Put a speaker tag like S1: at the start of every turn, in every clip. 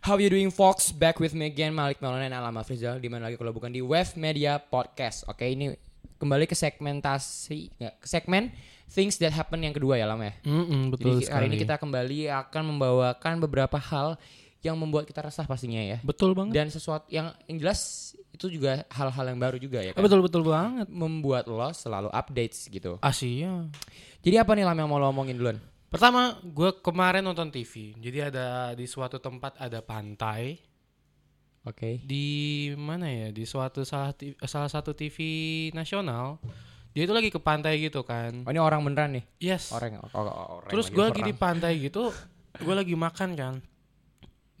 S1: How you doing, folks? Back with me again, Malik Maulana dan Alama Frizal. Di mana lagi kalau bukan di Wave Media Podcast. Oke, ini kembali ke segmentasi, nggak, ke segmen things that happen yang kedua ya, Lam ya.
S2: Mm-mm, betul
S1: Jadi hari
S2: sekali.
S1: ini kita kembali akan membawakan beberapa hal yang membuat kita resah pastinya ya.
S2: betul banget.
S1: Dan sesuatu yang, yang jelas itu juga hal-hal yang baru juga ya. Kan?
S2: Oh, Betul betul banget.
S1: Membuat lo selalu updates gitu.
S2: Ah, Asia.
S1: Jadi apa nih Lam yang mau lo omongin duluan?
S2: Pertama, gue kemarin nonton TV. Jadi ada di suatu tempat ada pantai.
S1: Oke.
S2: Di mana ya? Di suatu salah ti- salah satu TV nasional. Dia itu lagi ke pantai gitu kan.
S1: Oh, ini orang beneran nih.
S2: Yes.
S1: Orang, oh, oh, orang
S2: Terus gue lagi di pantai gitu. Gue lagi makan kan.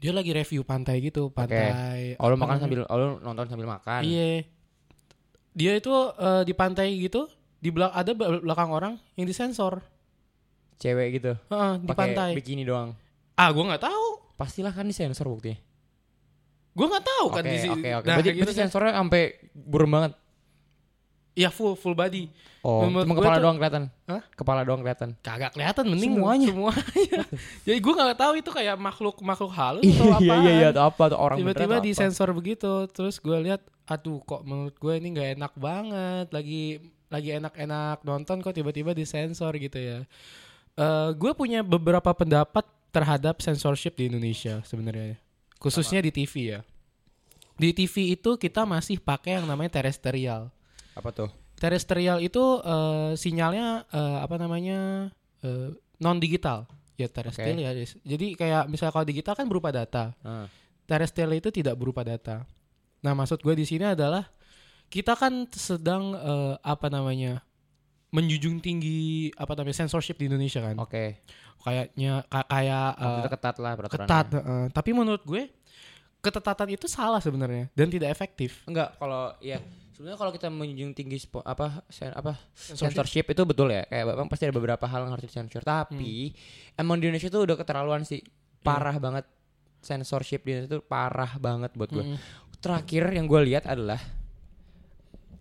S2: Dia lagi review pantai gitu. Pantai.
S1: Oh, lo makan
S2: apa namanya?
S1: sambil, oh, lo nonton sambil makan.
S2: Iya. Dia itu eh, di pantai gitu. Di belak ada bel- belakang orang yang disensor.
S1: Cewek gitu.
S2: Heeh, di
S1: Pakai
S2: pantai.
S1: bikini doang.
S2: Ah, gue nggak tahu.
S1: Pastilah kan disensor buktinya.
S2: Gue nggak tahu
S1: Oke,
S2: kan di sini.
S1: oke, oke.
S2: Nah,
S1: Berarti,
S2: kayak
S1: berarti
S2: gitu kan.
S1: sensornya sampai burem banget.
S2: Ya full full body.
S1: Oh,
S2: Menurut
S1: cuma
S2: gua
S1: kepala
S2: tuh-
S1: doang kelihatan.
S2: Hah?
S1: Kepala doang kelihatan.
S2: Kagak kelihatan mending
S1: Semuanya.
S2: Semuanya. Jadi gue nggak tahu itu kayak makhluk makhluk halus
S1: Iya,
S2: atau apa.
S1: iya, iya, atau apa tuh orang
S2: Tiba-tiba
S1: beneran atau
S2: di
S1: apa.
S2: sensor begitu. Terus gue lihat, aduh kok menurut gue ini nggak enak banget. Lagi lagi enak-enak nonton kok tiba-tiba di sensor gitu ya. Eh gue punya beberapa pendapat terhadap censorship di Indonesia sebenarnya. Khususnya di TV ya. Di TV itu kita masih pakai yang namanya terestrial.
S1: Apa tuh?
S2: Terestrial itu eh, sinyalnya eh, apa namanya non digital ya terestrial
S1: Oke.
S2: ya. Jadi kayak misalnya kalau digital kan berupa data.
S1: Heeh.
S2: Terestrial itu tidak berupa data. Nah maksud gue di sini adalah kita kan sedang eh, apa namanya menjunjung tinggi apa namanya censorship di Indonesia kan.
S1: Oke.
S2: Kayaknya ka- kayak eh,
S1: Maksudnya ketat lah peraturannya.
S2: ketat. eh, tapi menurut gue ketetatan itu salah sebenarnya dan tidak efektif.
S1: Enggak, kalau ya sebenarnya kalau kita menjunjung tinggi spo- apa sen- apa censorship itu betul ya. Kayak Bang pasti ada beberapa hal yang harus disensor, tapi emang di Indonesia tuh udah keterlaluan sih. Parah banget censorship di Indonesia tuh parah banget buat gue. Terakhir yang gue lihat adalah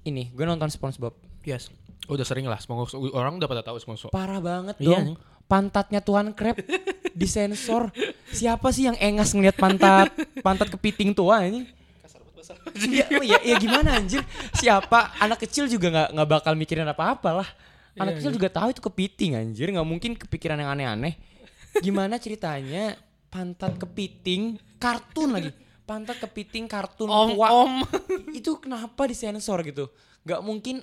S1: ini, gue nonton SpongeBob.
S2: Yes. Udah sering lah, semoga orang udah pada tahu sponsor.
S1: Parah banget
S2: Iya,
S1: dong. Pantatnya Tuan Krep disensor. Siapa sih yang engas ngeliat pantat pantat kepiting tua ini? Iya, iya, iya gimana anjir? Siapa anak kecil juga nggak nggak bakal mikirin apa-apa lah.
S2: Iya,
S1: Anak kecil juga tahu itu kepiting anjir, nggak mungkin kepikiran yang aneh-aneh. Gimana ceritanya pantat kepiting kartun lagi? Pantat kepiting kartun
S2: Om
S1: tua
S2: om.
S1: itu kenapa disensor gitu nggak mungkin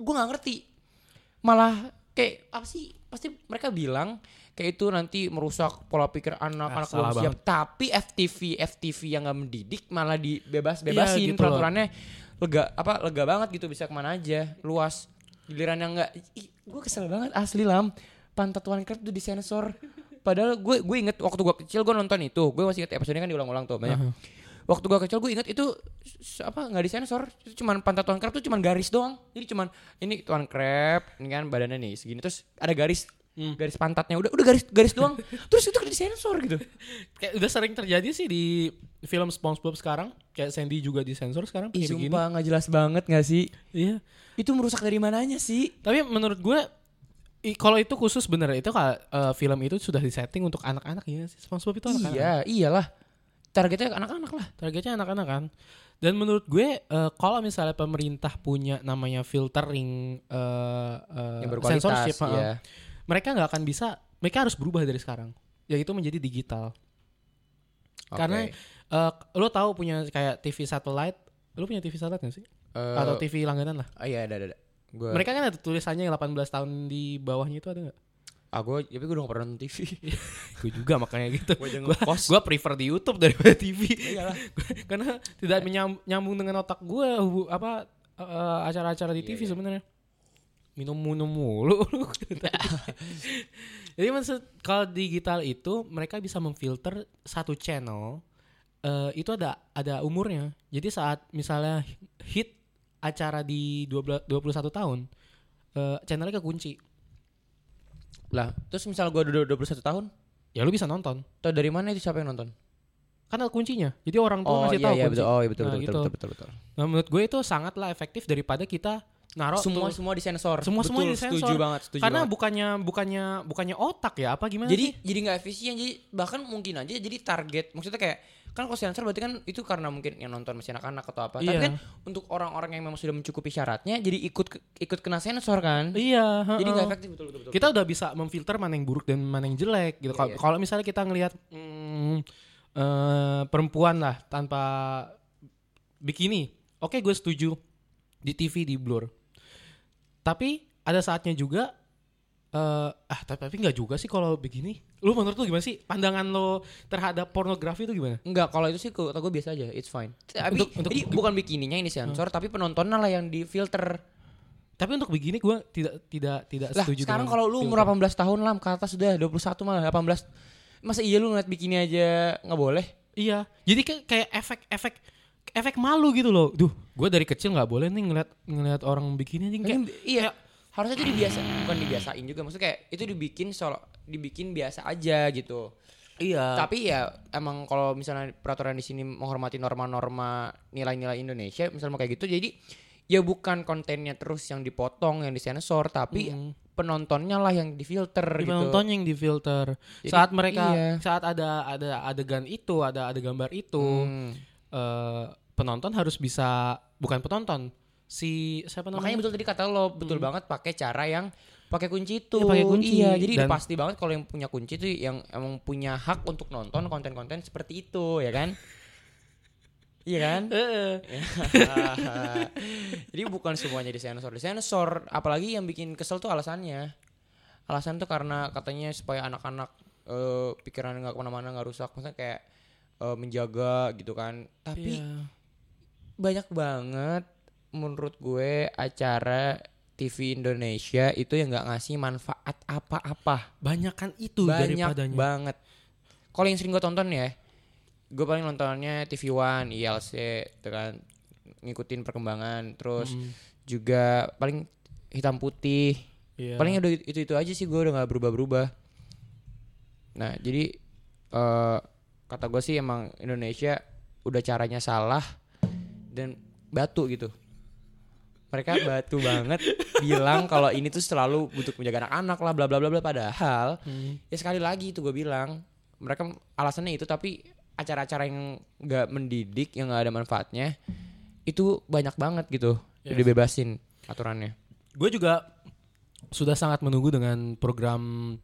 S1: gue nggak ngerti malah kayak apa sih pasti mereka bilang kayak itu nanti merusak pola pikir anak-anak
S2: Ah, salah
S1: belum siap tapi FTV FTV yang nggak mendidik malah dibebas bebasin
S2: Iya, gitu loh.
S1: peraturannya lega apa lega banget gitu bisa kemana aja luas giliran yang nggak gue kesel banget asli lam pantat One Crab tuh disensor padahal gue gue inget waktu gue kecil gue nonton itu gue masih inget episodenya kan diulang-ulang tuh banyak waktu gua kecil gue inget itu s- apa nggak disensor itu cuman pantat tuan crab tuh cuman garis doang jadi cuman ini tuan crab ini kan badannya nih segini terus ada garis garis pantatnya udah udah garis garis doang terus itu disensor gitu
S2: Kayak udah sering terjadi sih di film SpongeBob sekarang. Kayak Sandy juga disensor sekarang
S1: Ih,
S2: kayak begini.
S1: sumpah nggak jelas banget nggak sih
S2: Iya.
S1: itu merusak dari mananya sih
S2: Tapi menurut gue i- kalau itu khusus bener itu kalau eh, film itu sudah disetting untuk anak-anak ya sih. SpongeBob itu anak-anak.
S1: iya iyalah targetnya anak-anak lah
S2: Targetnya anak-anak kan. Dan menurut gue eh, kalau misalnya pemerintah punya namanya filtering eh, eh,
S1: yang berkualitas
S2: censorship, heeh.
S1: ya
S2: mereka nggak akan bisa mereka harus berubah dari sekarang yaitu menjadi digital karena eh, lo tahu punya kayak TV satelit lo punya TV satelit nggak sih
S1: Eh,
S2: atau TV langganan lah
S1: oh, iya ada ada, ada. Gua,
S2: mereka kan ada tulisannya yang 18 tahun di bawahnya itu ada nggak
S1: ah gue tapi gue udah gak pernah nonton TV
S2: Iya. gue juga makanya gitu
S1: gue jangan
S2: Gua-
S1: ngekos
S2: gue prefer di YouTube daripada TV
S1: iyalah Iya.
S2: karena tidak menyam- nyambung dengan otak gue hubu- apa eh, acara-acara di
S1: Iya,
S2: TV
S1: iya.
S2: sebenarnya minum minum mulu jadi maksud kalau digital itu mereka bisa memfilter satu channel eh, itu ada ada umurnya jadi saat misalnya hit acara di 12, 21 tahun eh, channelnya kekunci
S1: lah terus misal gue udah 21 tahun
S2: ya lu bisa nonton
S1: tau dari mana itu siapa yang nonton
S2: karena kuncinya jadi orang tua
S1: Oh
S2: ngasih
S1: iya
S2: tahu
S1: iya
S2: kunci
S1: betul. Oh iya betul
S2: Nah,
S1: betul, betul,
S2: gitu.
S1: betul betul betul
S2: Nah, menurut gue itu sangatlah efektif daripada kita naruh
S1: semua
S2: tuh.
S1: semua disensor.
S2: Semua-
S1: Betul,
S2: semuanya disensor.
S1: Setuju banget, setuju
S2: karena
S1: banget.
S2: bukannya bukannya bukannya otak ya apa gimana
S1: jadi
S2: sih?
S1: jadi nggak efisien jadi bahkan mungkin aja jadi target maksudnya kayak kan kalau sensor berarti kan itu karena mungkin yang nonton masih anak-anak atau apa tapi
S2: Iya.
S1: kan untuk orang-orang yang memang sudah mencukupi syaratnya jadi ikut ke- ikut kena sensor kan
S2: iya
S1: jadi
S2: heeh.
S1: nggak efektif betul betul, betul.
S2: kita udah bisa memfilter mana yang buruk dan mana yang jelek gitu. Kalau
S1: Iya, iya.
S2: kalau misalnya kita ngelihat mm, eh, perempuan lah tanpa bikini, oke gue setuju di TV di blur. Tapi ada saatnya juga eh ah tapi tapi nggak juga sih kalau begini. Lu menurut lu gimana sih pandangan lo terhadap pornografi itu gimana?
S1: Enggak, kalau itu sih kata gue biasa aja, it's fine. Tapi
S2: Untuk- untuk-
S1: jadi bukan bikininya yang disensor, tapi penontonnya lah yang difilter.
S2: Tapi untuk begini gue tidak tidak tidak
S1: Lah,
S2: setuju.
S1: sekarang
S2: dengan
S1: kalau lu umur 18
S2: filter.
S1: tahun lah, ke atas udah 21 malah 18. Masa iya lu ngeliat bikini aja nggak boleh?
S2: Iya. Jadi kayak, kayak efek-efek efek malu gitu loh. Duh, gue dari kecil nggak boleh nih ngeliat ngeliat orang bikini anjing kayak
S1: Ini bi- iya, harusnya itu dibiasa, bukan dibiasain juga. Maksudnya kayak itu dibikin solo, dibikin biasa aja gitu.
S2: iya.
S1: Tapi ya emang kalau misalnya peraturan di sini menghormati norma-norma nilai-nilai Indonesia, misalnya kayak gitu, jadi ya bukan kontennya terus yang dipotong, yang disensor, tapi penontonnya lah yang difilter gitu.
S2: Penonton yang difilter.
S1: Jadi,
S2: saat mereka
S1: iya.
S2: saat ada ada adegan itu, ada ada gambar itu,
S1: Hmm.
S2: eh, penonton harus bisa bukan penonton si siapa
S1: Makanya
S2: namanya?
S1: betul tadi kata lo betul banget pakai cara yang pakai kunci itu.
S2: Hmm. Iya, pakai kunci.
S1: Iya, jadi
S2: Dan-
S1: udah pasti banget kalau yang punya kunci itu yang emang punya hak untuk nonton konten-konten seperti itu, ya kan? iya kan?
S2: Heeh. Ah.
S1: Jadi bukan semuanya disensor, disensor. Apalagi yang bikin kesel tuh alasannya. Alasan tuh karena katanya supaya anak-anak eh, pikiran nggak kemana-mana nggak rusak, maksudnya kayak eh, menjaga gitu kan. Tapi
S2: Iya.
S1: banyak banget menurut gue acara TV Indonesia itu yang nggak ngasih manfaat apa-apa.
S2: Banyakan itu
S1: Banyak
S2: daripadanya.
S1: banget. Kalau yang sering gue tonton ya, gue paling nontonnya TV One, ILC, gitu kan ngikutin perkembangan, terus
S2: Mm-mm.
S1: juga paling hitam putih.
S2: Iya.
S1: Paling udah itu itu aja sih gue udah nggak berubah-berubah. Nah jadi eh kata gue sih emang Indonesia udah caranya salah dan batu gitu. Mereka batu banget bilang kalau ini tuh selalu butuh menjaga anak-anak lah bla bla bla bla padahal
S2: Hmm.
S1: ya sekali lagi itu gue bilang mereka alasannya itu tapi acara-acara yang nggak mendidik yang nggak ada manfaatnya itu banyak banget gitu
S2: Yes.
S1: dibebasin aturannya
S2: gue juga sudah sangat menunggu dengan program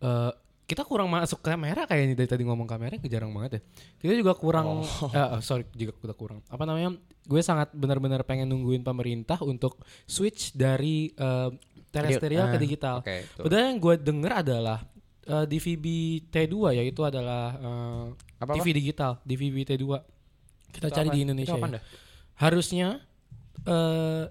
S2: eh, kita kurang masuk kamera kayaknya dari tadi ngomong kamera jarang banget ya kita juga kurang
S1: Oh.
S2: eh, eh, sorry juga kita kurang apa namanya gue sangat benar-benar pengen nungguin pemerintah untuk switch dari eh, terestrial ke
S1: Ah,
S2: digital
S1: oke, betul.
S2: padahal yang gue denger adalah eh, DVB T2 ya, yaitu adalah eh,
S1: Apa-apa?
S2: TV digital DVB T2 kita
S1: Itu
S2: cari
S1: apa-
S2: di
S1: itu
S2: Indonesia
S1: apaan
S2: ya
S1: dah?
S2: harusnya eh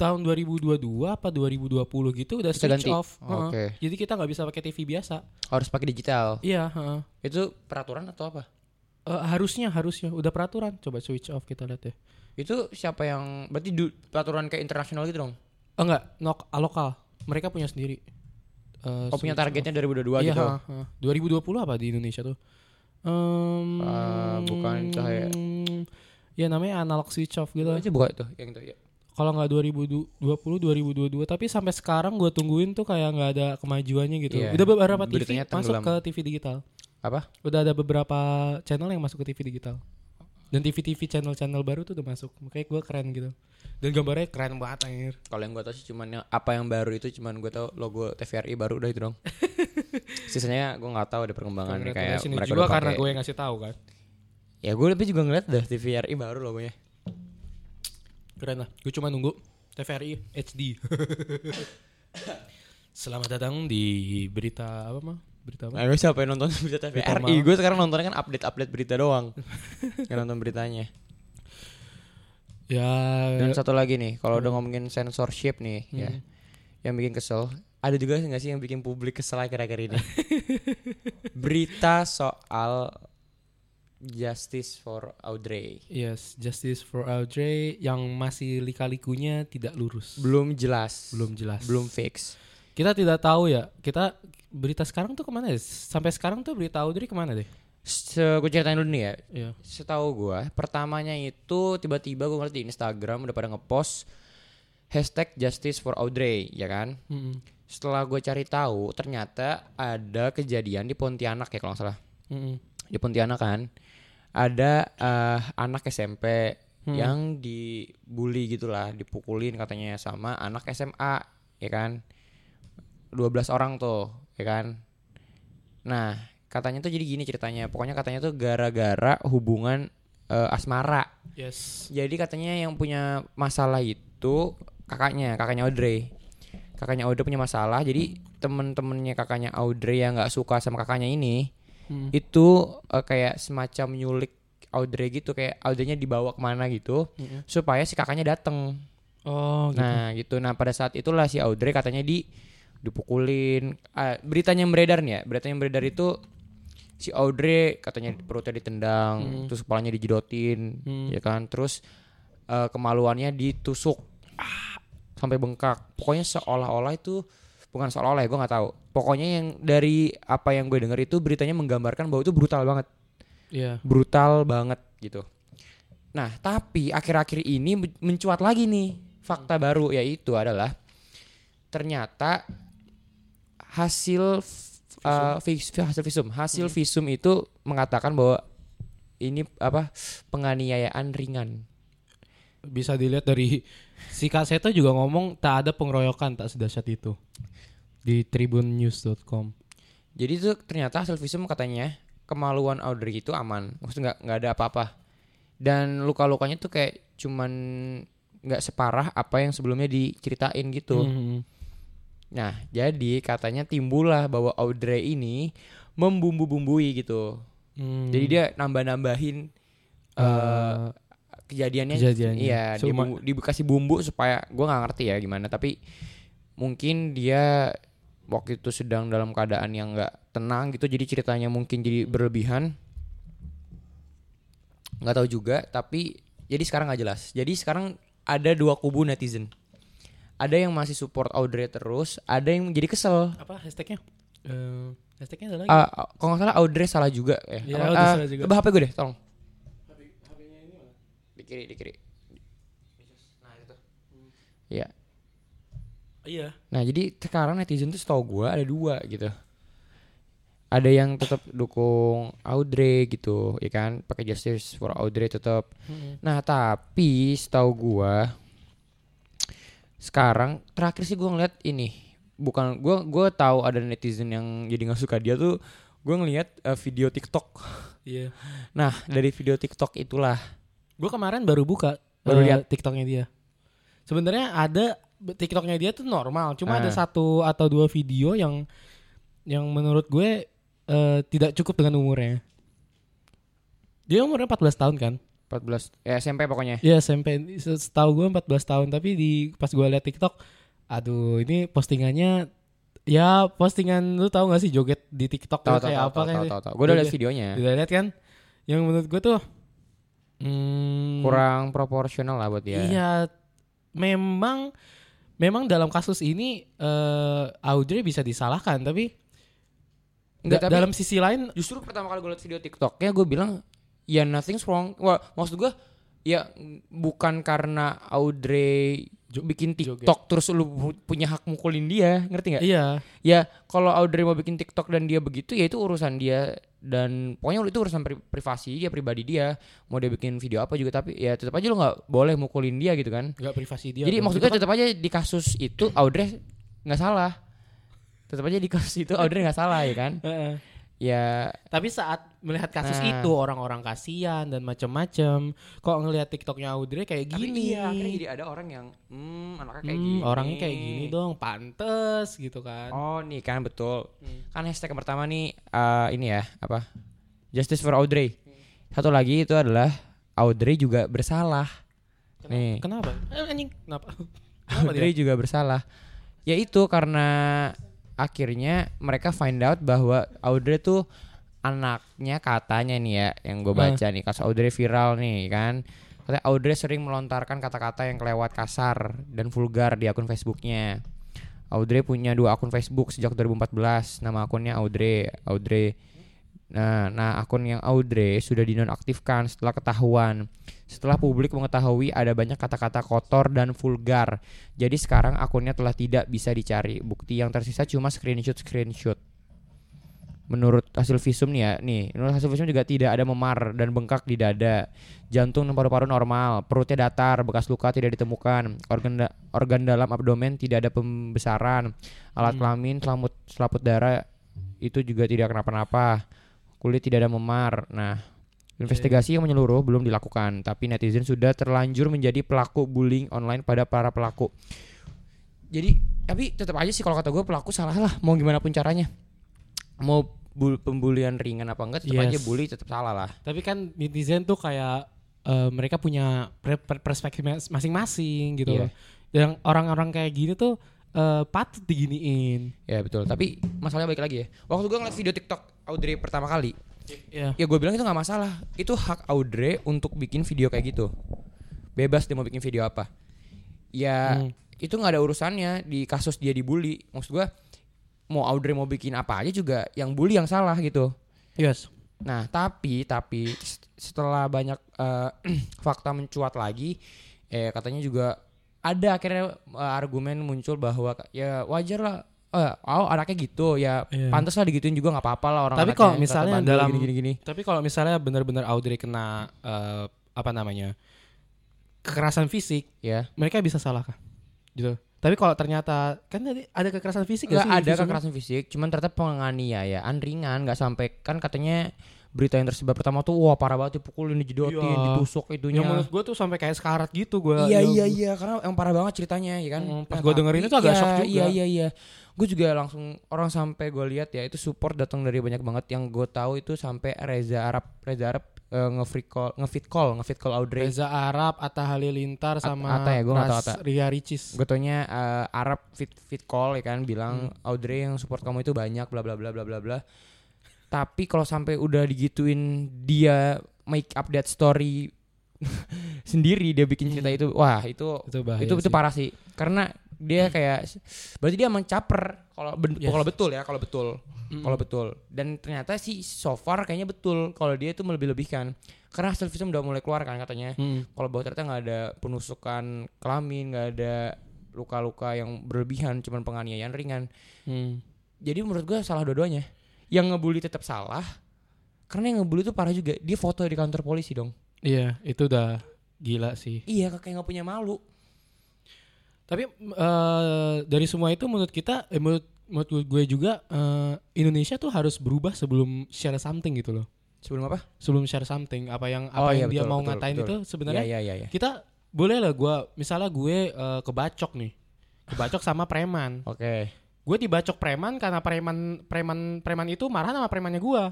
S2: tahun 2022 apa 2020 gitu
S1: Kita
S2: udah
S1: ganti.
S2: switch off.
S1: Oh,
S2: Heeh.
S1: oke.
S2: Jadi kita nggak bisa pakai TV biasa.
S1: harus pakai digital
S2: Iya. heeh.
S1: itu peraturan atau apa
S2: Eh, harusnya harusnya udah peraturan. Coba switch off kita lihat ya.
S1: itu siapa yang berarti du- peraturan kayak internasional gitu dong
S2: Eh, enggak, nok lokal. Mereka punya sendiri. Eh,
S1: oh punya
S2: switch
S1: targetnya 2022
S2: off. Iya,
S1: gitu
S2: heeh, heeh. 2020 apa di Indonesia tuh? Em,
S1: Ah, bukan, itu kayak-
S2: Ya namanya analog switch off gitu.
S1: Itu aja buka itu yang itu ya.
S2: kalau nggak 2020 2022 tapi sampai sekarang gue tungguin tuh kayak nggak ada kemajuannya gitu
S1: Iya.
S2: udah beberapa TV
S1: Beritanya
S2: masuk
S1: tenggelam.
S2: ke TV digital
S1: apa
S2: udah ada beberapa channel yang masuk ke TV digital dan TV TV channel-channel baru tuh udah masuk makanya gue keren gitu dan gambarnya keren banget anjir
S1: kalau yang gue tahu sih cuman yang, apa yang baru itu cuman gue tahu logo TVRI baru udah itu dong sisanya gue nggak tahu ada perkembangannya Kan kayak
S2: Congratulations
S1: mereka
S2: juga
S1: udah
S2: karena
S1: pakai-
S2: gue yang ngasih tahu kan
S1: ya gue lebih juga ngeliat dah TVRI baru logonya
S2: keren lah gue cuma nunggu TVRI HD selamat datang di berita apa mah berita apa
S1: Nah, gue siapa yang nonton berita TVRI?
S2: malam.
S1: Gue sekarang nontonnya kan update-update berita doang. Yang nonton beritanya.
S2: ya
S1: Dan satu lagi nih, kalau udah ngomongin censorship nih ya. Yang bikin kesel. Ada juga nggak sih yang bikin publik kesel akhir-akhir ini? berita soal Justice for Audrey.
S2: Yes, Justice for Audrey yang masih lika-likunya tidak lurus.
S1: Belum jelas.
S2: Belum jelas.
S1: Belum fix.
S2: Kita tidak tahu ya. Kita berita sekarang tuh kemana ya? Sampai sekarang tuh berita Audrey kemana deh?
S1: Se gue ceritain dulu nih ya.
S2: Iya.
S1: setahu gua pertamanya itu tiba-tiba gue ngeliat di Instagram udah pada ngepost hashtag justice for Audrey ya kan
S2: Mm-mm.
S1: setelah gue cari tahu ternyata ada kejadian di Pontianak ya kalau nggak salah
S2: Mm-mm.
S1: di Pontianak kan ada eh, anak SMP
S2: Hmm.
S1: yang dibully gitulah dipukulin katanya sama anak SMA ya kan 12 orang tuh ya kan nah katanya tuh jadi gini ceritanya pokoknya katanya tuh gara-gara hubungan eh, asmara
S2: Yes.
S1: jadi katanya yang punya masalah itu kakaknya, kakaknya Audrey. Kakaknya Audrey punya masalah. Jadi temen-temennya kakaknya Audrey yang nggak suka sama kakaknya ini
S2: Mm.
S1: itu eh, kayak semacam nyulik Audrey gitu kayak Audrey-nya dibawa kemana gitu
S2: Mm-mm.
S1: supaya si kakaknya dateng.
S2: Oh, gitu.
S1: Nah gitu. Nah pada saat itulah si Audrey katanya di dipukulin. Ah, beritanya yang beredar nih ya. Beritanya yang beredar itu si Audrey katanya perutnya ditendang, terus kepalanya dijedotin,
S2: Hmm.
S1: ya kan. Terus eh, kemaluannya ditusuk Ah, sampai bengkak. Pokoknya seolah-olah itu bukan seolah-olah ya gue nggak tahu. Pokoknya yang dari apa yang gue dengar itu beritanya menggambarkan bahwa itu brutal banget
S2: Iya.
S1: brutal banget gitu. Nah, tapi akhir-akhir ini men- mencuat lagi nih fakta baru yaitu adalah ternyata hasil f- uh, vis- hasil visum, hasil visum itu mengatakan bahwa ini apa penganiayaan ringan.
S2: Bisa dilihat dari si Kak Seto juga ngomong tak ada pengeroyokan tak sedahsyat itu di tribunnews.com.
S1: Jadi itu ternyata hasil visum katanya kemaluan Audrey itu aman, maksudnya nggak nggak ada apa-apa. Dan luka-lukanya tuh kayak cuman nggak separah apa yang sebelumnya diceritain gitu.
S2: Mm-mm.
S1: Nah, jadi katanya timbullah bahwa Audrey ini membumbu-bumbui gitu.
S2: Mm.
S1: Jadi dia nambah-nambahin eh
S2: Eh,
S1: kejadiannya.
S2: kejadiannya.
S1: Iya, dia
S2: Cuma-
S1: bumbu- dikasih bumbu supaya gua nggak ngerti ya gimana, tapi mungkin dia waktu itu sedang dalam keadaan yang nggak tenang gitu, jadi ceritanya mungkin jadi berlebihan. Nggak tahu juga, tapi jadi sekarang nggak jelas. Jadi sekarang ada dua kubu netizen. Ada yang masih support Audrey terus, ada yang jadi kesel
S2: apa hashtagnya? Eh, hashtagnya ada lagi.
S1: Ah, kalau nggak salah Audrey salah juga ya.
S2: Iya,
S1: Apa-
S2: Audrey
S1: ah,
S2: salah juga.
S1: Coba HP gue deh, tolong. Di kiri, di kiri. Nah, gitu. Iya.
S2: Iya.
S1: Nah, jadi sekarang netizen tuh setahu gue ada dua gitu. Ada yang tetap dukung Audrey gitu, ya kan? Pakai justice for Audrey tetap.
S2: Hmm.
S1: Nah, tapi setahu gua sekarang terakhir sih gua ngeliat ini bukan gua gua tahu ada netizen yang jadi nggak suka dia tuh gua ngeliat eh, video TikTok.
S2: Iya.
S1: Nah, dari video TikTok itulah
S2: Gue kemarin baru buka
S1: Baru
S2: baru
S1: lihat.
S2: TikToknya dia. Sebenarnya ada TikToknya dia tuh normal, cuma ada
S1: Ah.
S2: satu atau dua video yang yang menurut gue eh, tidak cukup dengan umurnya. Dia umurnya 14 tahun kan?
S1: 14 eh, SMP pokoknya.
S2: Iya SMP Se- setahu gue 14 tahun tapi di pas gue liat TikTok aduh ini postingannya ya postingan lu tahu gak sih joget di TikTok
S1: Tahu tahu
S2: tuh kayak
S1: tahu
S2: apa kan
S1: tahu
S2: kayak
S1: tahu tahu. Gua udah lihat
S2: Udah-
S1: videonya.
S2: udah liat kan yang menurut gue tuh hmm,
S1: Kurang proporsional lah buat dia.
S2: Iya, memang memang dalam kasus ini eh, Audrey bisa disalahkan, tapi,
S1: Nggak,
S2: da-
S1: tapi-
S2: dalam sisi lain
S1: Justru pertama kali gue liat video TikToknya gue bilang ya nothing's wrong. Wah, maksud gue ya mm, bukan karena Audrey bikin
S2: joget.
S1: TikTok terus lu pu- punya hak mukulin dia, ngerti nggak?
S2: iya
S1: Ya kalau Audrey mau bikin TikTok dan dia begitu ya itu urusan dia dan pokoknya itu urusan pri- privasi dia pribadi dia mau dia bikin video apa juga tapi ya tetap aja lu nggak boleh mukulin dia gitu kan
S2: nggak privasi dia.
S1: jadi
S2: dong.
S1: maksudnya tetap aja di kasus itu Audrey nggak salah tetap aja di kasus itu Audrey nggak salah ya kan
S2: Heeh.
S1: ya
S2: Tapi saat melihat kasus
S1: Nah.
S2: itu orang-orang kasihan dan macam-macam, kok ngelihat TikToknya Audrey
S1: Tapi
S2: kayak gini.
S1: iya, akhirnya jadi ada orang yang hmm anaknya kayak
S2: Hmm,
S1: gini
S2: orangnya kayak gini dong, pantes gitu kan.
S1: oh nih kan betul kan hashtag yang pertama nih eh, ini ya apa justice for Audrey satu lagi itu adalah Audrey juga bersalah nih
S2: Kenapa? Eh, anjing, kenapa? Kenapa ya?
S1: Audrey juga bersalah yaitu karena akhirnya mereka find out bahwa Audrey tuh anaknya katanya nih ya yang gue baca nih kasus Audrey viral nih kan katanya Audrey sering melontarkan kata-kata yang kelewat kasar dan vulgar di akun Facebooknya Audrey punya dua akun Facebook sejak 2014 nama akunnya Audrey Audrey Nah, nah akun yang Audrey sudah dinonaktifkan setelah ketahuan. setelah publik mengetahui ada banyak kata-kata kotor dan vulgar. Jadi sekarang akunnya telah tidak bisa dicari. Bukti yang tersisa cuma screenshot-screenshot. Menurut hasil visum nih ya, nih, menurut hasil visum juga tidak ada memar dan bengkak di dada. Jantung dan paru-paru normal, perutnya datar, bekas luka tidak ditemukan. Organ da- organ dalam abdomen tidak ada pembesaran. Alat
S2: Hmm.
S1: kelamin, selamut selaput darah itu juga tidak kenapa-napa. Kulit tidak ada memar. Nah, Investigasi yang menyeluruh belum dilakukan, tapi netizen sudah terlanjur menjadi pelaku bullying online pada para pelaku. Jadi, tapi tetap aja sih kalau kata gue pelaku salah lah, mau gimana pun caranya. Mau bul- pembulian ringan apa enggak, tetap
S2: Yes.
S1: aja bully tetap salah lah.
S2: Tapi kan netizen tuh kayak eh, mereka punya pre- pre- perspektif mas- masing-masing gitu
S1: Iya.
S2: loh. Yang orang-orang kayak gini tuh eh, patut diginiin.
S1: Ya betul, tapi masalahnya balik lagi ya. Waktu gue ngeliat video TikTok Audrey pertama kali,
S2: Iya.
S1: ya gue bilang itu nggak masalah. Itu hak Audrey untuk bikin video kayak gitu. Bebas dia mau bikin video apa. Ya
S2: Hmm.
S1: itu nggak ada urusannya di kasus dia dibully. Maksud gue mau Audrey mau bikin apa aja juga yang bully yang salah gitu.
S2: Yes.
S1: Nah tapi tapi set- setelah banyak eh, fakta mencuat lagi, eh katanya juga ada akhirnya eh, argumen muncul bahwa ya wajar lah. eh, oh anaknya gitu ya
S2: Iya.
S1: pantas lah digituin juga nggak apa-apa lah orang
S2: Tapi
S1: anaknya
S2: kalau
S1: yang ternyata
S2: misalnya
S1: bandel
S2: dalam-
S1: gini-gini
S2: Tapi kalau misalnya benar-benar Audrey kena eh, apa namanya kekerasan fisik,
S1: ya
S2: mereka bisa salah kah? Gitu. Tapi kalau ternyata kan tadi ada kekerasan fisik nggak
S1: Gak
S2: sih?
S1: ada
S2: visumnya?
S1: kekerasan fisik, cuman ternyata penganiayaan ringan, nggak sampai kan katanya berita yang tersebar pertama tuh wah parah banget dipukulin, dijedotin,
S2: Iya.
S1: ditusuk itunya.
S2: Yang menurut gue tuh sampai kayak sekarat gitu gue.
S1: iya iya iya, karena emang parah banget ceritanya, ya kan.
S2: Hmm, pas gua
S1: tapi-
S2: dengerin itu agak
S1: iya,
S2: shock juga.
S1: Iya iya iya. Gue juga langsung orang sampai gue lihat ya itu support datang dari banyak banget yang gue tahu itu sampai Reza Arab, Reza Arab eh, nge-free call, nge-fit call, nge-fit call Audrey.
S2: Reza Arab, Atta Halilintar sama
S1: Atta ya, gua nggak tahu
S2: Ras-
S1: Atta.
S2: Ria Ricis.
S1: Gue taunya eh, Arab fit fit call ya kan bilang
S2: Hmm.
S1: Audrey yang support kamu itu banyak bla bla bla bla bla bla. Tapi kalau sampai udah digituin dia make up that story sendiri dia bikin cerita
S2: Hmm.
S1: itu wah itu
S2: itu bahaya
S1: itu itu
S2: sih.
S1: parah Iya sih Hmm. karena dia kayak berarti dia emang caper kalau ben-
S2: Yes.
S1: kalau betul ya kalau betul
S2: Mm-mm.
S1: kalau betul dan ternyata sih so far kayaknya betul kalau dia itu melebih-lebihkan karena hasil visum udah mulai keluar kan katanya
S2: Mm.
S1: kalau bawah ternyata nggak ada penusukan kelamin nggak ada luka-luka yang berlebihan cuman penganiayaan ringan
S2: Mm.
S1: jadi menurut gue salah dua-duanya yang ngebully tetap salah karena yang ngebully itu parah juga dia foto di kantor polisi dong
S2: iya itu udah gila sih
S1: iya kayak nggak punya malu
S2: tapi eh, dari semua itu menurut kita eh, menurut menurut gue juga eh, Indonesia tuh harus berubah sebelum share something gitu loh
S1: sebelum apa
S2: sebelum share something apa yang
S1: Oh,
S2: apa
S1: iya,
S2: yang dia
S1: betul,
S2: mau
S1: betul,
S2: ngatain
S1: betul.
S2: itu sebenarnya
S1: iya iya iya
S2: kita boleh lah gue misalnya gue eh, kebacok nih kebacok sama preman
S1: oke
S2: gue dibacok preman karena preman preman preman itu marah sama premannya gue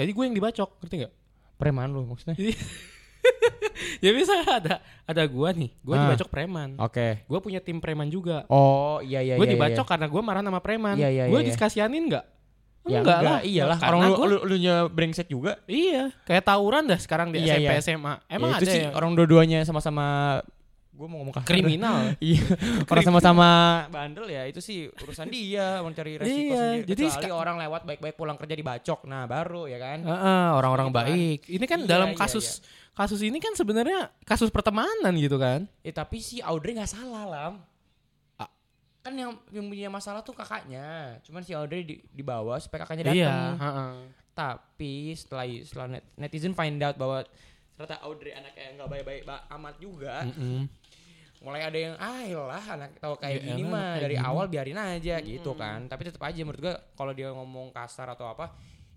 S2: jadi gue yang dibacok ngerti nggak
S1: preman lu maksudnya
S2: ya bisa ada ada gue nih gue
S1: Ah.
S2: dibacok preman
S1: oke
S2: gue punya tim preman juga.
S1: oh iya iya
S2: gue
S1: iya, iya,
S2: Hmm. dibacok karena gue marah sama preman.
S1: Iya, iya,
S2: gue
S1: iya, iya.
S2: dikasianin nggak?
S1: Ya,
S2: enggak, lah.
S1: iyalah
S2: Karena
S1: orang lu
S2: gua-
S1: lu, lu nya brengsek juga
S2: Iya, kayak tawuran dah sekarang di
S1: Iya,
S2: SMP
S1: iya.
S2: SMA. Emang
S1: Ya,
S2: ada
S1: itu sih
S2: ya
S1: orang dua-duanya sama-sama gue mau ngomong kasar.
S2: kriminal.
S1: Iya, orang sama-sama bandel ya itu sih urusan dia mencari resiko
S2: Iya,
S1: sendiri.
S2: jadi
S1: Kecuali
S2: seka-
S1: orang lewat baik-baik pulang kerja dibacok, nah baru ya kan.
S2: Heeh, orang-orang
S1: Gitu kan.
S2: baik. Ini kan
S1: Iya,
S2: dalam
S1: iya,
S2: kasus kasus ini kan sebenarnya kasus pertemanan gitu kan.
S1: Eh tapi si Audrey nggak salah lam.
S2: A-
S1: Kan yang, yang punya masalah tuh kakaknya, cuman si Audrey di, dibawa supaya kakaknya datang.
S2: Iya, heeh.
S1: Tapi setelah setelah net- netizen find out bahwa ternyata Audrey anaknya nggak baik-baik ba- amat juga,
S2: Mm-mm.
S1: mulai ada yang ah lah anak tahu kayak
S2: Ya
S1: gini
S2: elah,
S1: mah
S2: kayak
S1: dari
S2: gini." Hmm.
S1: awal biarin aja gitu kan tapi tetap aja menurut gua kalau dia ngomong kasar atau apa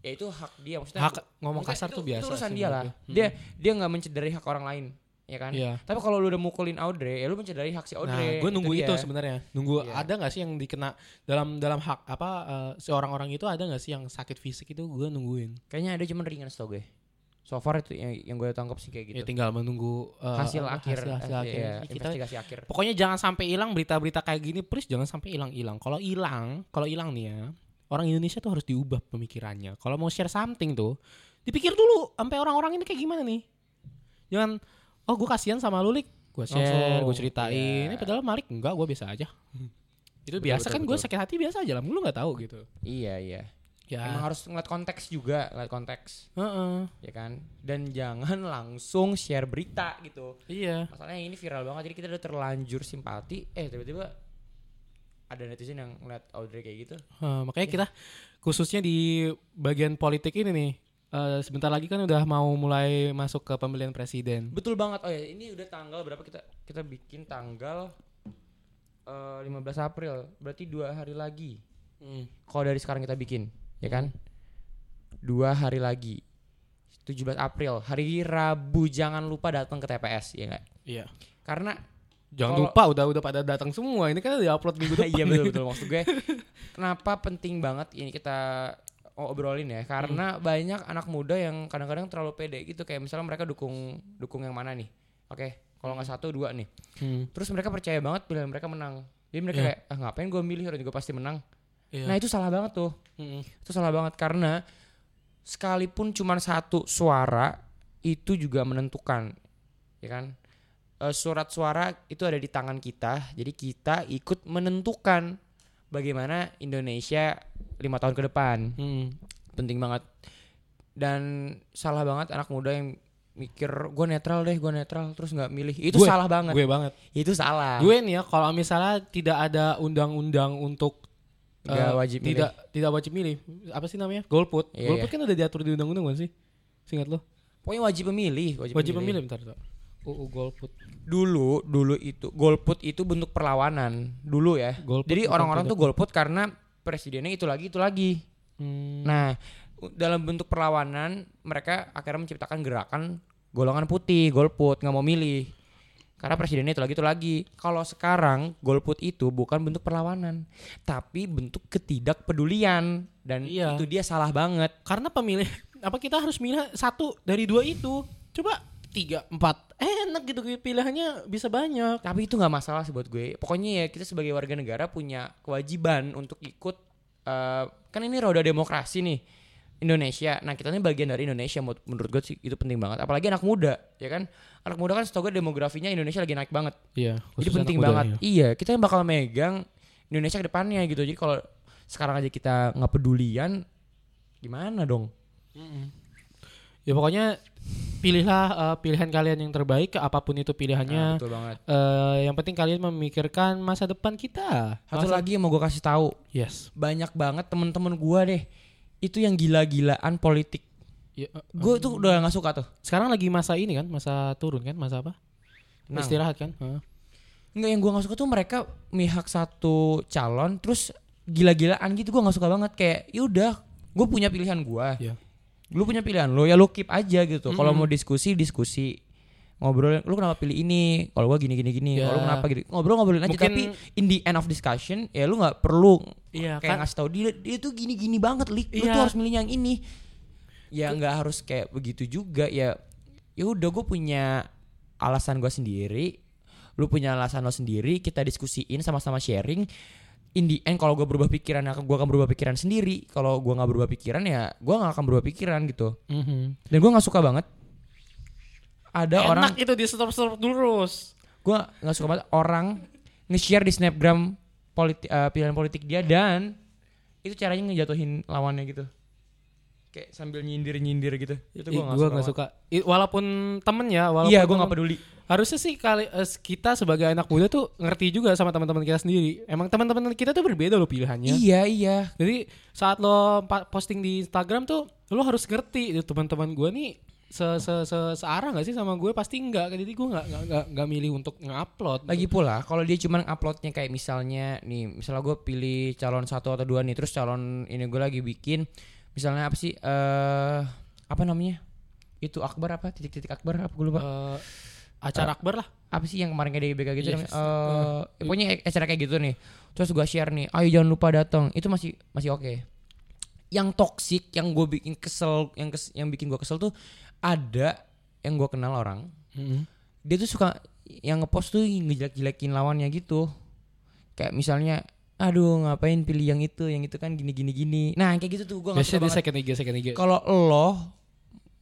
S1: ya itu hak dia maksudnya
S2: Hak
S1: maksudnya
S2: ngomong kasar
S1: itu-
S2: tuh
S1: itu
S2: biasa.
S1: urusan
S2: sih
S1: dia lah
S2: menurut gue.
S1: dia dia nggak mencederai hak orang lain ya kan
S2: Iya.
S1: tapi kalau lu udah mukulin Audrey ya lu mencederai hak si
S2: Nah,
S1: Audrey
S2: gue nunggu itu,
S1: dia.
S2: sebenarnya. Nunggu
S1: Iya.
S2: ada nggak sih yang dikena dalam dalam hak apa eh, seorang orang itu ada nggak sih yang sakit fisik itu gue nungguin.
S1: kayaknya ada cuman ringan setau gue so far itu yang, yang gue tangkap sih kayak gitu
S2: Ya tinggal menunggu uh,
S1: hasil
S2: apa,
S1: akhir
S2: hasil- hasil
S1: eh,
S2: akhir.
S1: iya,
S2: Jadi kita-
S1: investigasi akhir
S2: pokoknya jangan sampai hilang berita-berita kayak gini, please jangan sampai hilang-hilang. Kalau hilang, kalau hilang nih ya, orang Indonesia tuh harus diubah pemikirannya. Kalau mau share something tuh, dipikir dulu sampai orang-orang ini kayak gimana nih. Jangan oh gue kasihan sama lu Lik. Gue share,
S1: Langsung,
S2: gue ceritain.
S1: iya.
S2: Ini padahal Malik enggak, gue biasa aja. Itu
S1: Betul,
S2: biasa
S1: betul,
S2: kan gue
S1: betul.
S2: sakit hati biasa aja lah, lu nggak tahu gitu.
S1: iya iya
S2: Ya.
S1: Emang harus ngeliat konteks juga, ngeliat konteks,
S2: Heeh.
S1: ya kan? Dan jangan langsung share berita gitu.
S2: Iya.
S1: Masalahnya ini viral banget, jadi kita udah terlanjur simpati, eh tiba-tiba ada netizen yang ngeliat Audrey kayak gitu.
S2: Eh, makanya kita khususnya di bagian politik ini nih. eh, sebentar lagi kan udah mau mulai masuk ke pemilihan presiden.
S1: Betul banget. Oh ya, ini udah tanggal berapa kita kita bikin tanggal eh, 15 April. Berarti dua hari lagi. Kalau dari sekarang kita bikin, ya kan? Dua hari lagi. 17 April, hari Rabu jangan lupa datang ke TPS, ya nggak?
S2: Iya.
S1: Karena
S2: Jangan
S1: Kalau-
S2: lupa udah udah pada datang semua. Ini kan udah upload minggu depan.
S1: iya betul betul maksud gue. Kenapa penting banget ini kita obrolin ya?
S2: Hmm.
S1: Karena banyak anak muda yang kadang-kadang terlalu pede gitu kayak misalnya mereka dukung dukung yang mana nih? Oke, kalau nggak satu dua nih.
S2: Hmm.
S1: Terus mereka percaya banget pilihan mereka menang. Jadi mereka
S2: Iya.
S1: kayak ah, ngapain gue milih orang juga pasti menang.
S2: Iya. Hmm,
S1: Nah itu salah banget tuh.
S2: Mm-mm.
S1: Itu salah banget karena sekalipun cuma satu suara itu juga menentukan, ya kan? Eh, surat suara itu ada di tangan kita. Jadi kita ikut menentukan bagaimana Indonesia lima tahun ke depan.
S2: Mm.
S1: Penting banget. Dan salah banget anak muda yang mikir gue netral deh, gue netral terus nggak milih. Itu
S2: Gue-
S1: salah banget.
S2: Gue banget.
S1: Itu salah.
S2: Gue nih ya kalau misalnya tidak ada undang-undang untuk
S1: Nggak
S2: eh,
S1: wajib milih.
S2: tidak tidak wajib milih. Apa sih namanya? Golput.
S1: Iya,
S2: Golput kan udah diatur di undang-undang kan sih? Singkat lo.
S1: Pokoknya wajib memilih,
S2: Wajib memilih bentar, bentar. UU golput.
S1: Dulu, dulu itu golput itu bentuk perlawanan dulu ya.
S2: Golput
S1: Jadi
S2: bukan
S1: orang-orang
S2: tidak.
S1: tuh golput karena presidennya itu lagi itu lagi.
S2: Hmm.
S1: Nah, u- dalam bentuk perlawanan mereka akhirnya menciptakan gerakan golongan putih, golput, nggak mau milih. Karena presidennya itu lagi itu lagi. Kalau sekarang golput itu bukan bentuk perlawanan, tapi bentuk ketidakpedulian dan
S2: Iya.
S1: itu dia salah banget.
S2: karena pemilih apa kita harus milih satu dari dua itu coba tiga empat eh, enak gitu pilihannya bisa banyak
S1: Tapi itu nggak masalah sih buat gue. Pokoknya ya kita sebagai warga negara punya kewajiban untuk ikut. eh, kan ini roda demokrasi nih Indonesia. Nah kita ini bagian dari Indonesia menurut menurut gue sih itu penting banget. Apalagi anak muda, ya kan? Anak muda kan setahu gue demografinya Indonesia lagi naik banget.
S2: iya
S1: Jadi penting banget. Iya kita yang bakal megang Indonesia ke depannya gitu. Jadi kalau sekarang aja kita nggak pedulian, gimana dong?
S2: ya pokoknya pilihlah eh, pilihan kalian yang terbaik apapun itu
S1: Nah,
S2: pilihannya
S1: betul banget.
S2: Eh, yang penting kalian memikirkan masa depan kita
S1: Satu
S2: Masa-
S1: lagi yang mau gue kasih tahu,
S2: yes
S1: banyak banget temen-temen gue deh itu yang gila-gilaan politik.
S2: Ya, eh,
S1: Gue tuh udah gak suka tuh.
S2: sekarang lagi masa ini kan masa turun kan masa apa
S1: Nah,
S2: istirahat kan Heeh.
S1: Enggak yang gue gak suka tuh mereka mihak satu calon terus gila-gilaan gitu gue gak suka banget kayak yaudah gue punya pilihan gue.
S2: Iya.
S1: Lu punya pilihan lo ya lu keep aja gitu. Kalau mau diskusi diskusi ngobrol lu kenapa pilih ini kalau gua gini gini gini
S2: Ya.
S1: kalau lu kenapa gini ngobrol ngobrolin aja
S2: Mungkin-
S1: tapi in the end of discussion ya lu nggak perlu
S2: Iya,
S1: kayak
S2: kan-
S1: ngasih tau dia dia tuh gini gini banget lik lu
S2: Iya.
S1: tuh harus milih yang ini ya nggak harus kayak begitu juga ya ya udah gue punya alasan gue sendiri lu punya alasan lo sendiri kita diskusiin sama-sama sharing in the end kalau gue berubah pikiran ya gue akan berubah pikiran sendiri kalau gue nggak berubah pikiran ya gue nggak akan berubah pikiran gitu
S2: Mhm.
S1: dan gue nggak suka banget ada
S2: enak
S1: orang
S2: itu di stop stop terus
S1: gue nggak suka banget orang nge-share di snapgram politi- eh, pilihan politik dia dan itu caranya ngejatuhin lawannya gitu kayak sambil nyindir nyindir gitu itu
S2: Ih,
S1: gue
S2: gua
S1: nggak
S2: nggak
S1: suka,
S2: suka, Ih, walaupun temen ya
S1: banget.
S2: walaupun
S1: iya gue
S2: temen-
S1: nggak peduli
S2: harusnya sih kali eh, kita sebagai anak muda tuh ngerti juga sama teman-teman kita sendiri. Emang teman-teman kita tuh berbeda loh pilihannya.
S1: iya iya
S2: Jadi saat lo pa- posting di Instagram tuh lo harus ngerti "Duh, teman-teman gue nih se se se searah nggak sih sama gue pasti nggak jadi gue nggak nggak- nggak nggak milih untuk nge-upload
S1: lagi pula kalau dia cuman uploadnya kayak misalnya nih misalnya gue pilih calon satu atau dua nih terus calon ini gue lagi bikin misalnya apa sih eh apa namanya itu akbar apa titik-titik akbar apa gue lupa
S2: Eh,
S1: Ah.
S2: acara akbar lah
S1: apa sih yang kemarin kayak DGBK gitu
S2: Yes.
S1: namanya? Eh, pokoknya acara kayak gitu nih terus gua share nih ayo jangan lupa datang itu masih masih oke yang toksik yang gue bikin kesel yang kes- yang bikin gua kesel tuh ada yang gua kenal orang dia tuh suka yang ngepost tuh ngejelek-jelekin lawannya gitu kayak misalnya aduh ngapain pilih yang itu yang itu kan gini gini gini nah yang kayak gitu tuh gue nggak suka
S2: biasanya
S1: banget.
S2: di second IG second IG
S1: kalau lo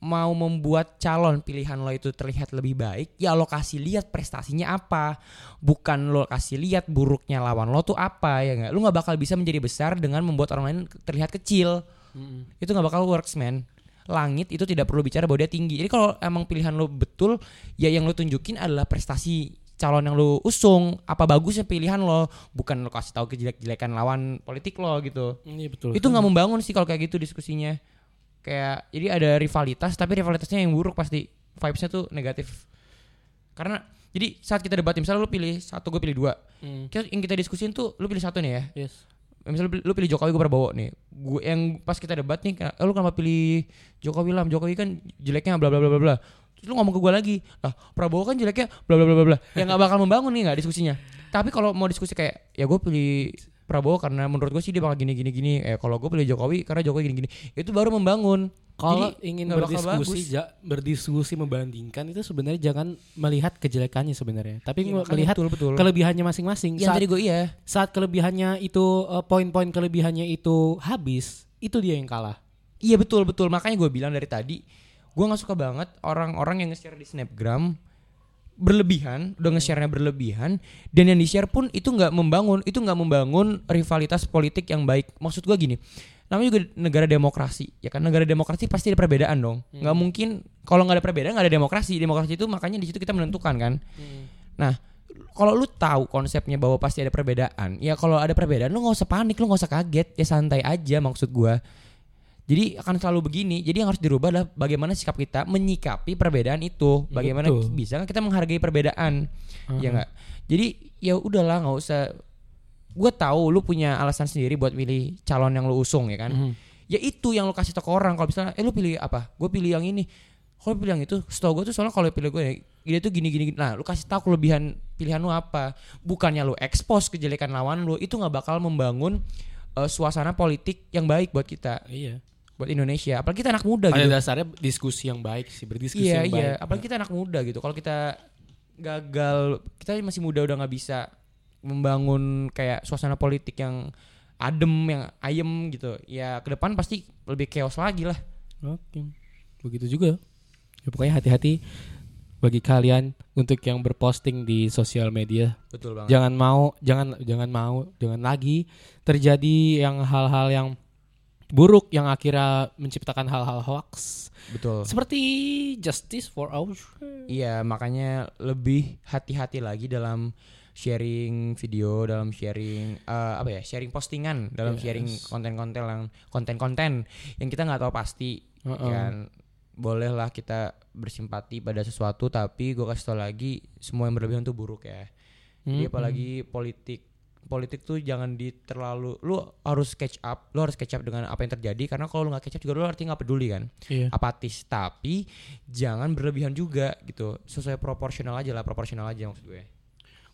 S1: mau membuat calon pilihan lo itu terlihat lebih baik ya lo kasih lihat prestasinya apa bukan lo kasih lihat buruknya lawan lo tuh apa ya nggak lo nggak bakal bisa menjadi besar dengan membuat orang lain terlihat kecil
S2: Mm-mm.
S1: itu nggak bakal works man langit itu tidak perlu bicara bahwa dia tinggi jadi kalau emang pilihan lo betul ya yang lo tunjukin adalah prestasi calon yang lo usung apa bagusnya pilihan lo bukan lo kasih tahu kejelek-jelekan lawan politik lo gitu
S2: Iya betul.
S1: itu nggak membangun sih kalau kayak gitu diskusinya kayak jadi ada rivalitas tapi rivalitasnya yang buruk pasti vibesnya tuh negatif karena jadi saat kita debat misalnya lu pilih satu gue pilih dua
S2: Mm.
S1: Kita- yang kita diskusin tuh lu pilih satu nih ya
S2: Yes.
S1: misalnya lu pilih- lu pilih Jokowi gue Prabowo nih gue yang pas kita debat nih kayak, eh, lu kenapa pilih Jokowi lam Jokowi kan jeleknya bla bla bla bla bla terus lu ngomong ke gue lagi lah Prabowo kan jeleknya bla bla bla bla bla ya nggak bakal membangun nih nggak diskusinya tapi kalau mau diskusi kayak ya gue pilih Prabowo karena menurut gue sih dia bakal gini gini gini eh kalau gue pilih Jokowi karena Jokowi gini gini itu baru membangun
S2: Kalau
S1: Jadi,
S2: ingin
S1: nggak bakal
S2: berdiskusi, ja- berdiskusi membandingkan itu sebenarnya jangan melihat kejelekannya sebenarnya, tapi
S1: Iya, makanya
S2: melihat
S1: betul betul
S2: kelebihannya masing-masing.
S1: yang
S2: Saat,
S1: tadi gue iya
S2: saat kelebihannya itu eh, poin-poin kelebihannya itu habis, itu dia yang kalah.
S1: Iya betul betul makanya gue bilang dari tadi gue nggak suka banget orang-orang yang nge-share di snapgram berlebihan udah nge-share-nya berlebihan dan yang di-share pun itu nggak membangun itu nggak membangun rivalitas politik yang baik maksud gue gini namanya juga negara demokrasi ya kan negara demokrasi pasti ada perbedaan dong nggak mungkin kalau nggak ada perbedaan nggak ada demokrasi demokrasi itu makanya di situ kita menentukan kan
S2: Hmm.
S1: Nah, kalau lu tahu konsepnya bahwa pasti ada perbedaan, ya kalau ada perbedaan lu nggak usah panik, lu nggak usah kaget, ya santai aja maksud gua. Jadi akan selalu begini. Jadi yang harus dirubah adalah bagaimana sikap kita menyikapi perbedaan itu. Bagaimana
S2: Betul.
S1: ki- bisa nggak kita menghargai perbedaan? Ya nggak. Jadi ya udahlah nggak usah. Gue tahu lu punya alasan sendiri buat milih calon yang lu usung ya kan.
S2: Mhm. Hmm.
S1: Ya itu yang lu kasih tau ke orang. Kalau misalnya, eh lu pilih apa? Gue pilih yang ini. Kalau pilih yang itu, setahu gue tuh soalnya kalau pilih gue ya, dia tuh gini gini. gini. Nah, lu kasih tahu kelebihan pilihan lu apa. Bukannya lu expose kejelekan lawan lu, itu nggak bakal membangun eh, suasana politik yang baik buat kita,
S2: Iya.
S1: buat Indonesia. Apalagi kita anak muda
S2: Pada
S1: gitu.
S2: dasarnya diskusi yang baik sih, berdiskusi
S1: Iya
S2: yang
S1: iya,
S2: baik.
S1: apalagi kita anak muda gitu. Kalau kita gagal, kita masih muda udah nggak bisa membangun kayak suasana politik yang adem, yang ayem gitu. Ya ke depan pasti lebih chaos lagi lah.
S2: Oke. Begitu juga. Ya, pokoknya hati-hati bagi kalian untuk yang berposting di sosial media.
S1: Betul banget.
S2: Jangan mau, jangan jangan mau, jangan lagi terjadi yang hal-hal yang buruk yang akhirnya menciptakan hal-hal hoax
S1: Betul.
S2: Hmm. seperti justice for all.
S1: Iya, makanya lebih hati-hati lagi dalam sharing video, dalam sharing eh, apa ya, sharing postingan, dalam
S2: Yes.
S1: sharing konten-konten yang konten-konten yang kita nggak tahu pasti. Kan bolehlah kita bersimpati pada sesuatu, tapi gue kasih tau lagi semua yang berlebihan tuh buruk ya.
S2: Hmm?
S1: Jadi apalagi politik politik tuh jangan di terlalu lu harus catch up lu harus catch up dengan apa yang terjadi karena kalau lu nggak catch up juga lu artinya nggak peduli kan
S2: Iya.
S1: apatis tapi jangan berlebihan juga gitu sesuai proporsional aja lah proporsional aja maksud gue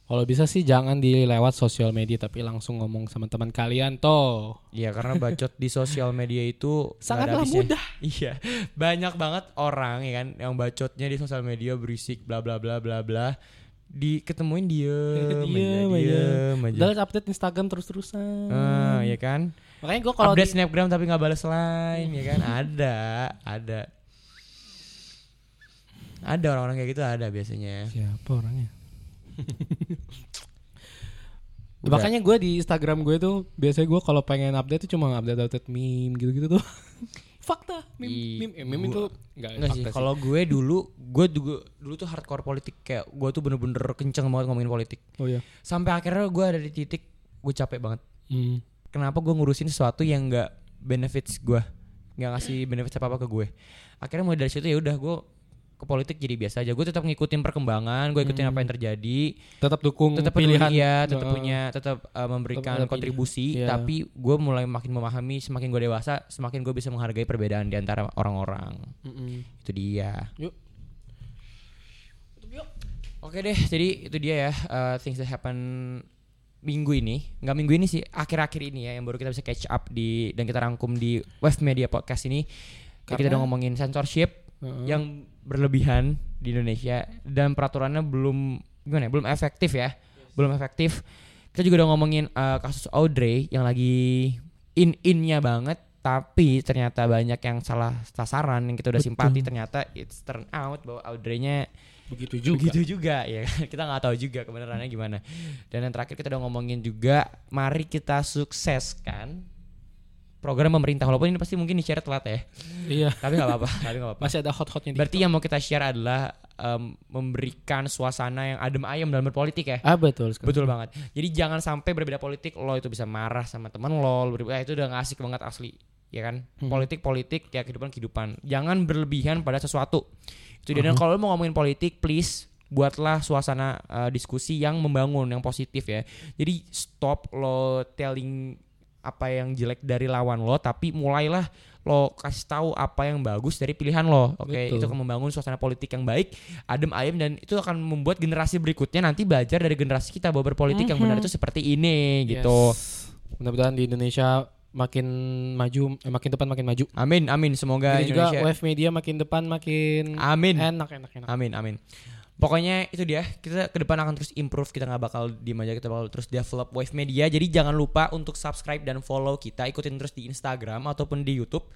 S2: Kalau bisa sih jangan dilewat sosial media tapi langsung ngomong sama teman kalian toh.
S1: Iya karena bacot di sosial media itu nggak ada
S2: Sangatlah
S1: habisnya.
S2: mudah.
S1: Iya banyak banget orang ya kan yang bacotnya di sosial media berisik bla bla bla bla bla di ketemuin diem
S2: Diem
S1: aja,
S2: aja.
S1: diem aja.
S2: Udah update Instagram terus-terusan.
S1: Ah, ya kan
S2: Makanya gue kalau
S1: update snapgram tapi nggak balas line ya kan ada ada ada orang-orang kayak gitu ada biasanya
S2: Siapa orangnya?
S1: Udah.
S2: Makanya gue di Instagram gue tuh biasanya gue kalau pengen update tuh cuma update update meme gitu-gitu tuh. fakta meme
S1: Ih,
S2: meme, eh, meme
S1: gua-
S2: itu enggak
S1: Enggak sih. Kalau gue dulu, gue juga dulu tuh hardcore politik kayak gue tuh bener-bener kenceng banget ngomongin politik.
S2: oh ya.
S1: Sampai akhirnya gue ada di titik gue capek banget.
S2: Hmm.
S1: Kenapa gue ngurusin sesuatu yang nggak benefits gue, nggak ngasih benefits apa apa ke gue. Akhirnya mulai dari situ ya udah gue ke politik jadi biasa aja. Gue tetap ngikutin perkembangan, gue ikutin apa yang terjadi,
S2: Tetap dukung
S1: tetap
S2: pilihan
S1: pilihan, ya, tetap
S2: Heeh.
S1: punya, tetap uh, memberikan
S2: ada pilihan.
S1: kontribusi.
S2: Iya.
S1: Tapi gue mulai makin memahami, semakin gue dewasa, semakin gue bisa menghargai perbedaan di antara orang-orang.
S2: Mm-mm.
S1: Itu dia.
S2: Yuk.
S1: Oke deh, jadi itu dia ya uh, things that happen minggu ini, nggak minggu ini sih, akhir-akhir ini ya yang baru kita bisa catch up di dan kita rangkum di Wave Media Podcast ini. Ya, kita udah
S2: Karena-
S1: ngomongin censorship
S2: Heeh.
S1: yang berlebihan di Indonesia dan peraturannya belum gimana ya, belum efektif ya, belum efektif. Kita juga udah ngomongin uh, kasus Audrey yang lagi in-innya banget, tapi ternyata banyak yang salah sasaran yang kita udah
S2: Betul.
S1: simpati ternyata it's turn out bahwa Audrey-nya
S2: begitu juga.
S1: Begitu juga ya kan? kita nggak tahu juga kebenarannya gimana. Dan yang terakhir kita udah ngomongin juga mari kita sukseskan program pemerintah walaupun ini pasti mungkin di-share telat ya
S2: Iya.
S1: tapi nggak apa-apa tapi nggak apa-apa
S2: Masih ada hot-hotnya di.
S1: berarti yang mau kita share adalah em, memberikan suasana yang adem ayem dalam berpolitik ya
S2: Ah betul sekali.
S1: Betul banget. Jadi jangan sampai berbeda politik lo itu bisa marah sama teman lo, lo berbeda- itu udah nggak asik banget asli, ya kan?
S2: Hmm.
S1: Politik politik ya kehidupan kehidupan. Jangan berlebihan pada sesuatu. Itu dia. Dan
S2: Hmm.
S1: kalau lo mau ngomongin politik, please buatlah suasana uh, diskusi yang membangun, yang positif ya. Jadi stop lo telling apa yang jelek dari lawan lo, tapi mulailah lo kasih tahu apa yang bagus dari pilihan lo. Oke,
S2: Betul.
S1: itu akan membangun suasana politik yang baik adem ayem dan itu akan membuat generasi berikutnya nanti belajar dari generasi kita bahwa berpolitik yang benar itu seperti ini gitu.
S2: Mhm. Yes. Mudah-mudahan di Indonesia makin maju, eh, makin depan makin maju.
S1: Amin amin semoga
S2: Ini juga
S1: Indonesia.
S2: wave media makin depan makin
S1: amin.
S2: enak enak enak.
S1: Amin amin. Pokoknya itu dia. Kita ke depan akan terus improve. Kita nggak bakal diem aja. Kita bakal terus develop Wave Media. Jadi jangan lupa untuk subscribe dan follow kita. Ikutin terus di Instagram ataupun di YouTube.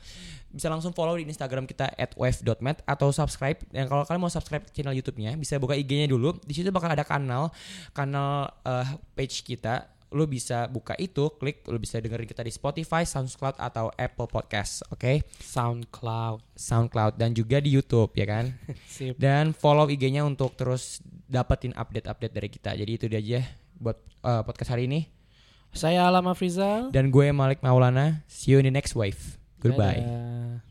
S1: Bisa langsung follow di Instagram kita @wave.met atau subscribe. Dan kalau kalian mau subscribe channel YouTube-nya, bisa buka IG-nya dulu. Di situ bakal ada kanal kanal eh, page kita. Lo bisa buka itu, klik. Lo bisa dengerin kita di Spotify, SoundCloud atau Apple Podcast. Oke,
S2: SoundCloud.
S1: SoundCloud dan juga di YouTube ya kan.
S2: Sip.
S1: Dan follow IG-nya untuk terus dapetin update-update dari kita. Jadi itu dia aja buat eh, podcast hari ini.
S2: Saya Alama Frizal.
S1: Dan gue Malik Maulana. See you in the next wave. Goodbye.
S2: Dadah.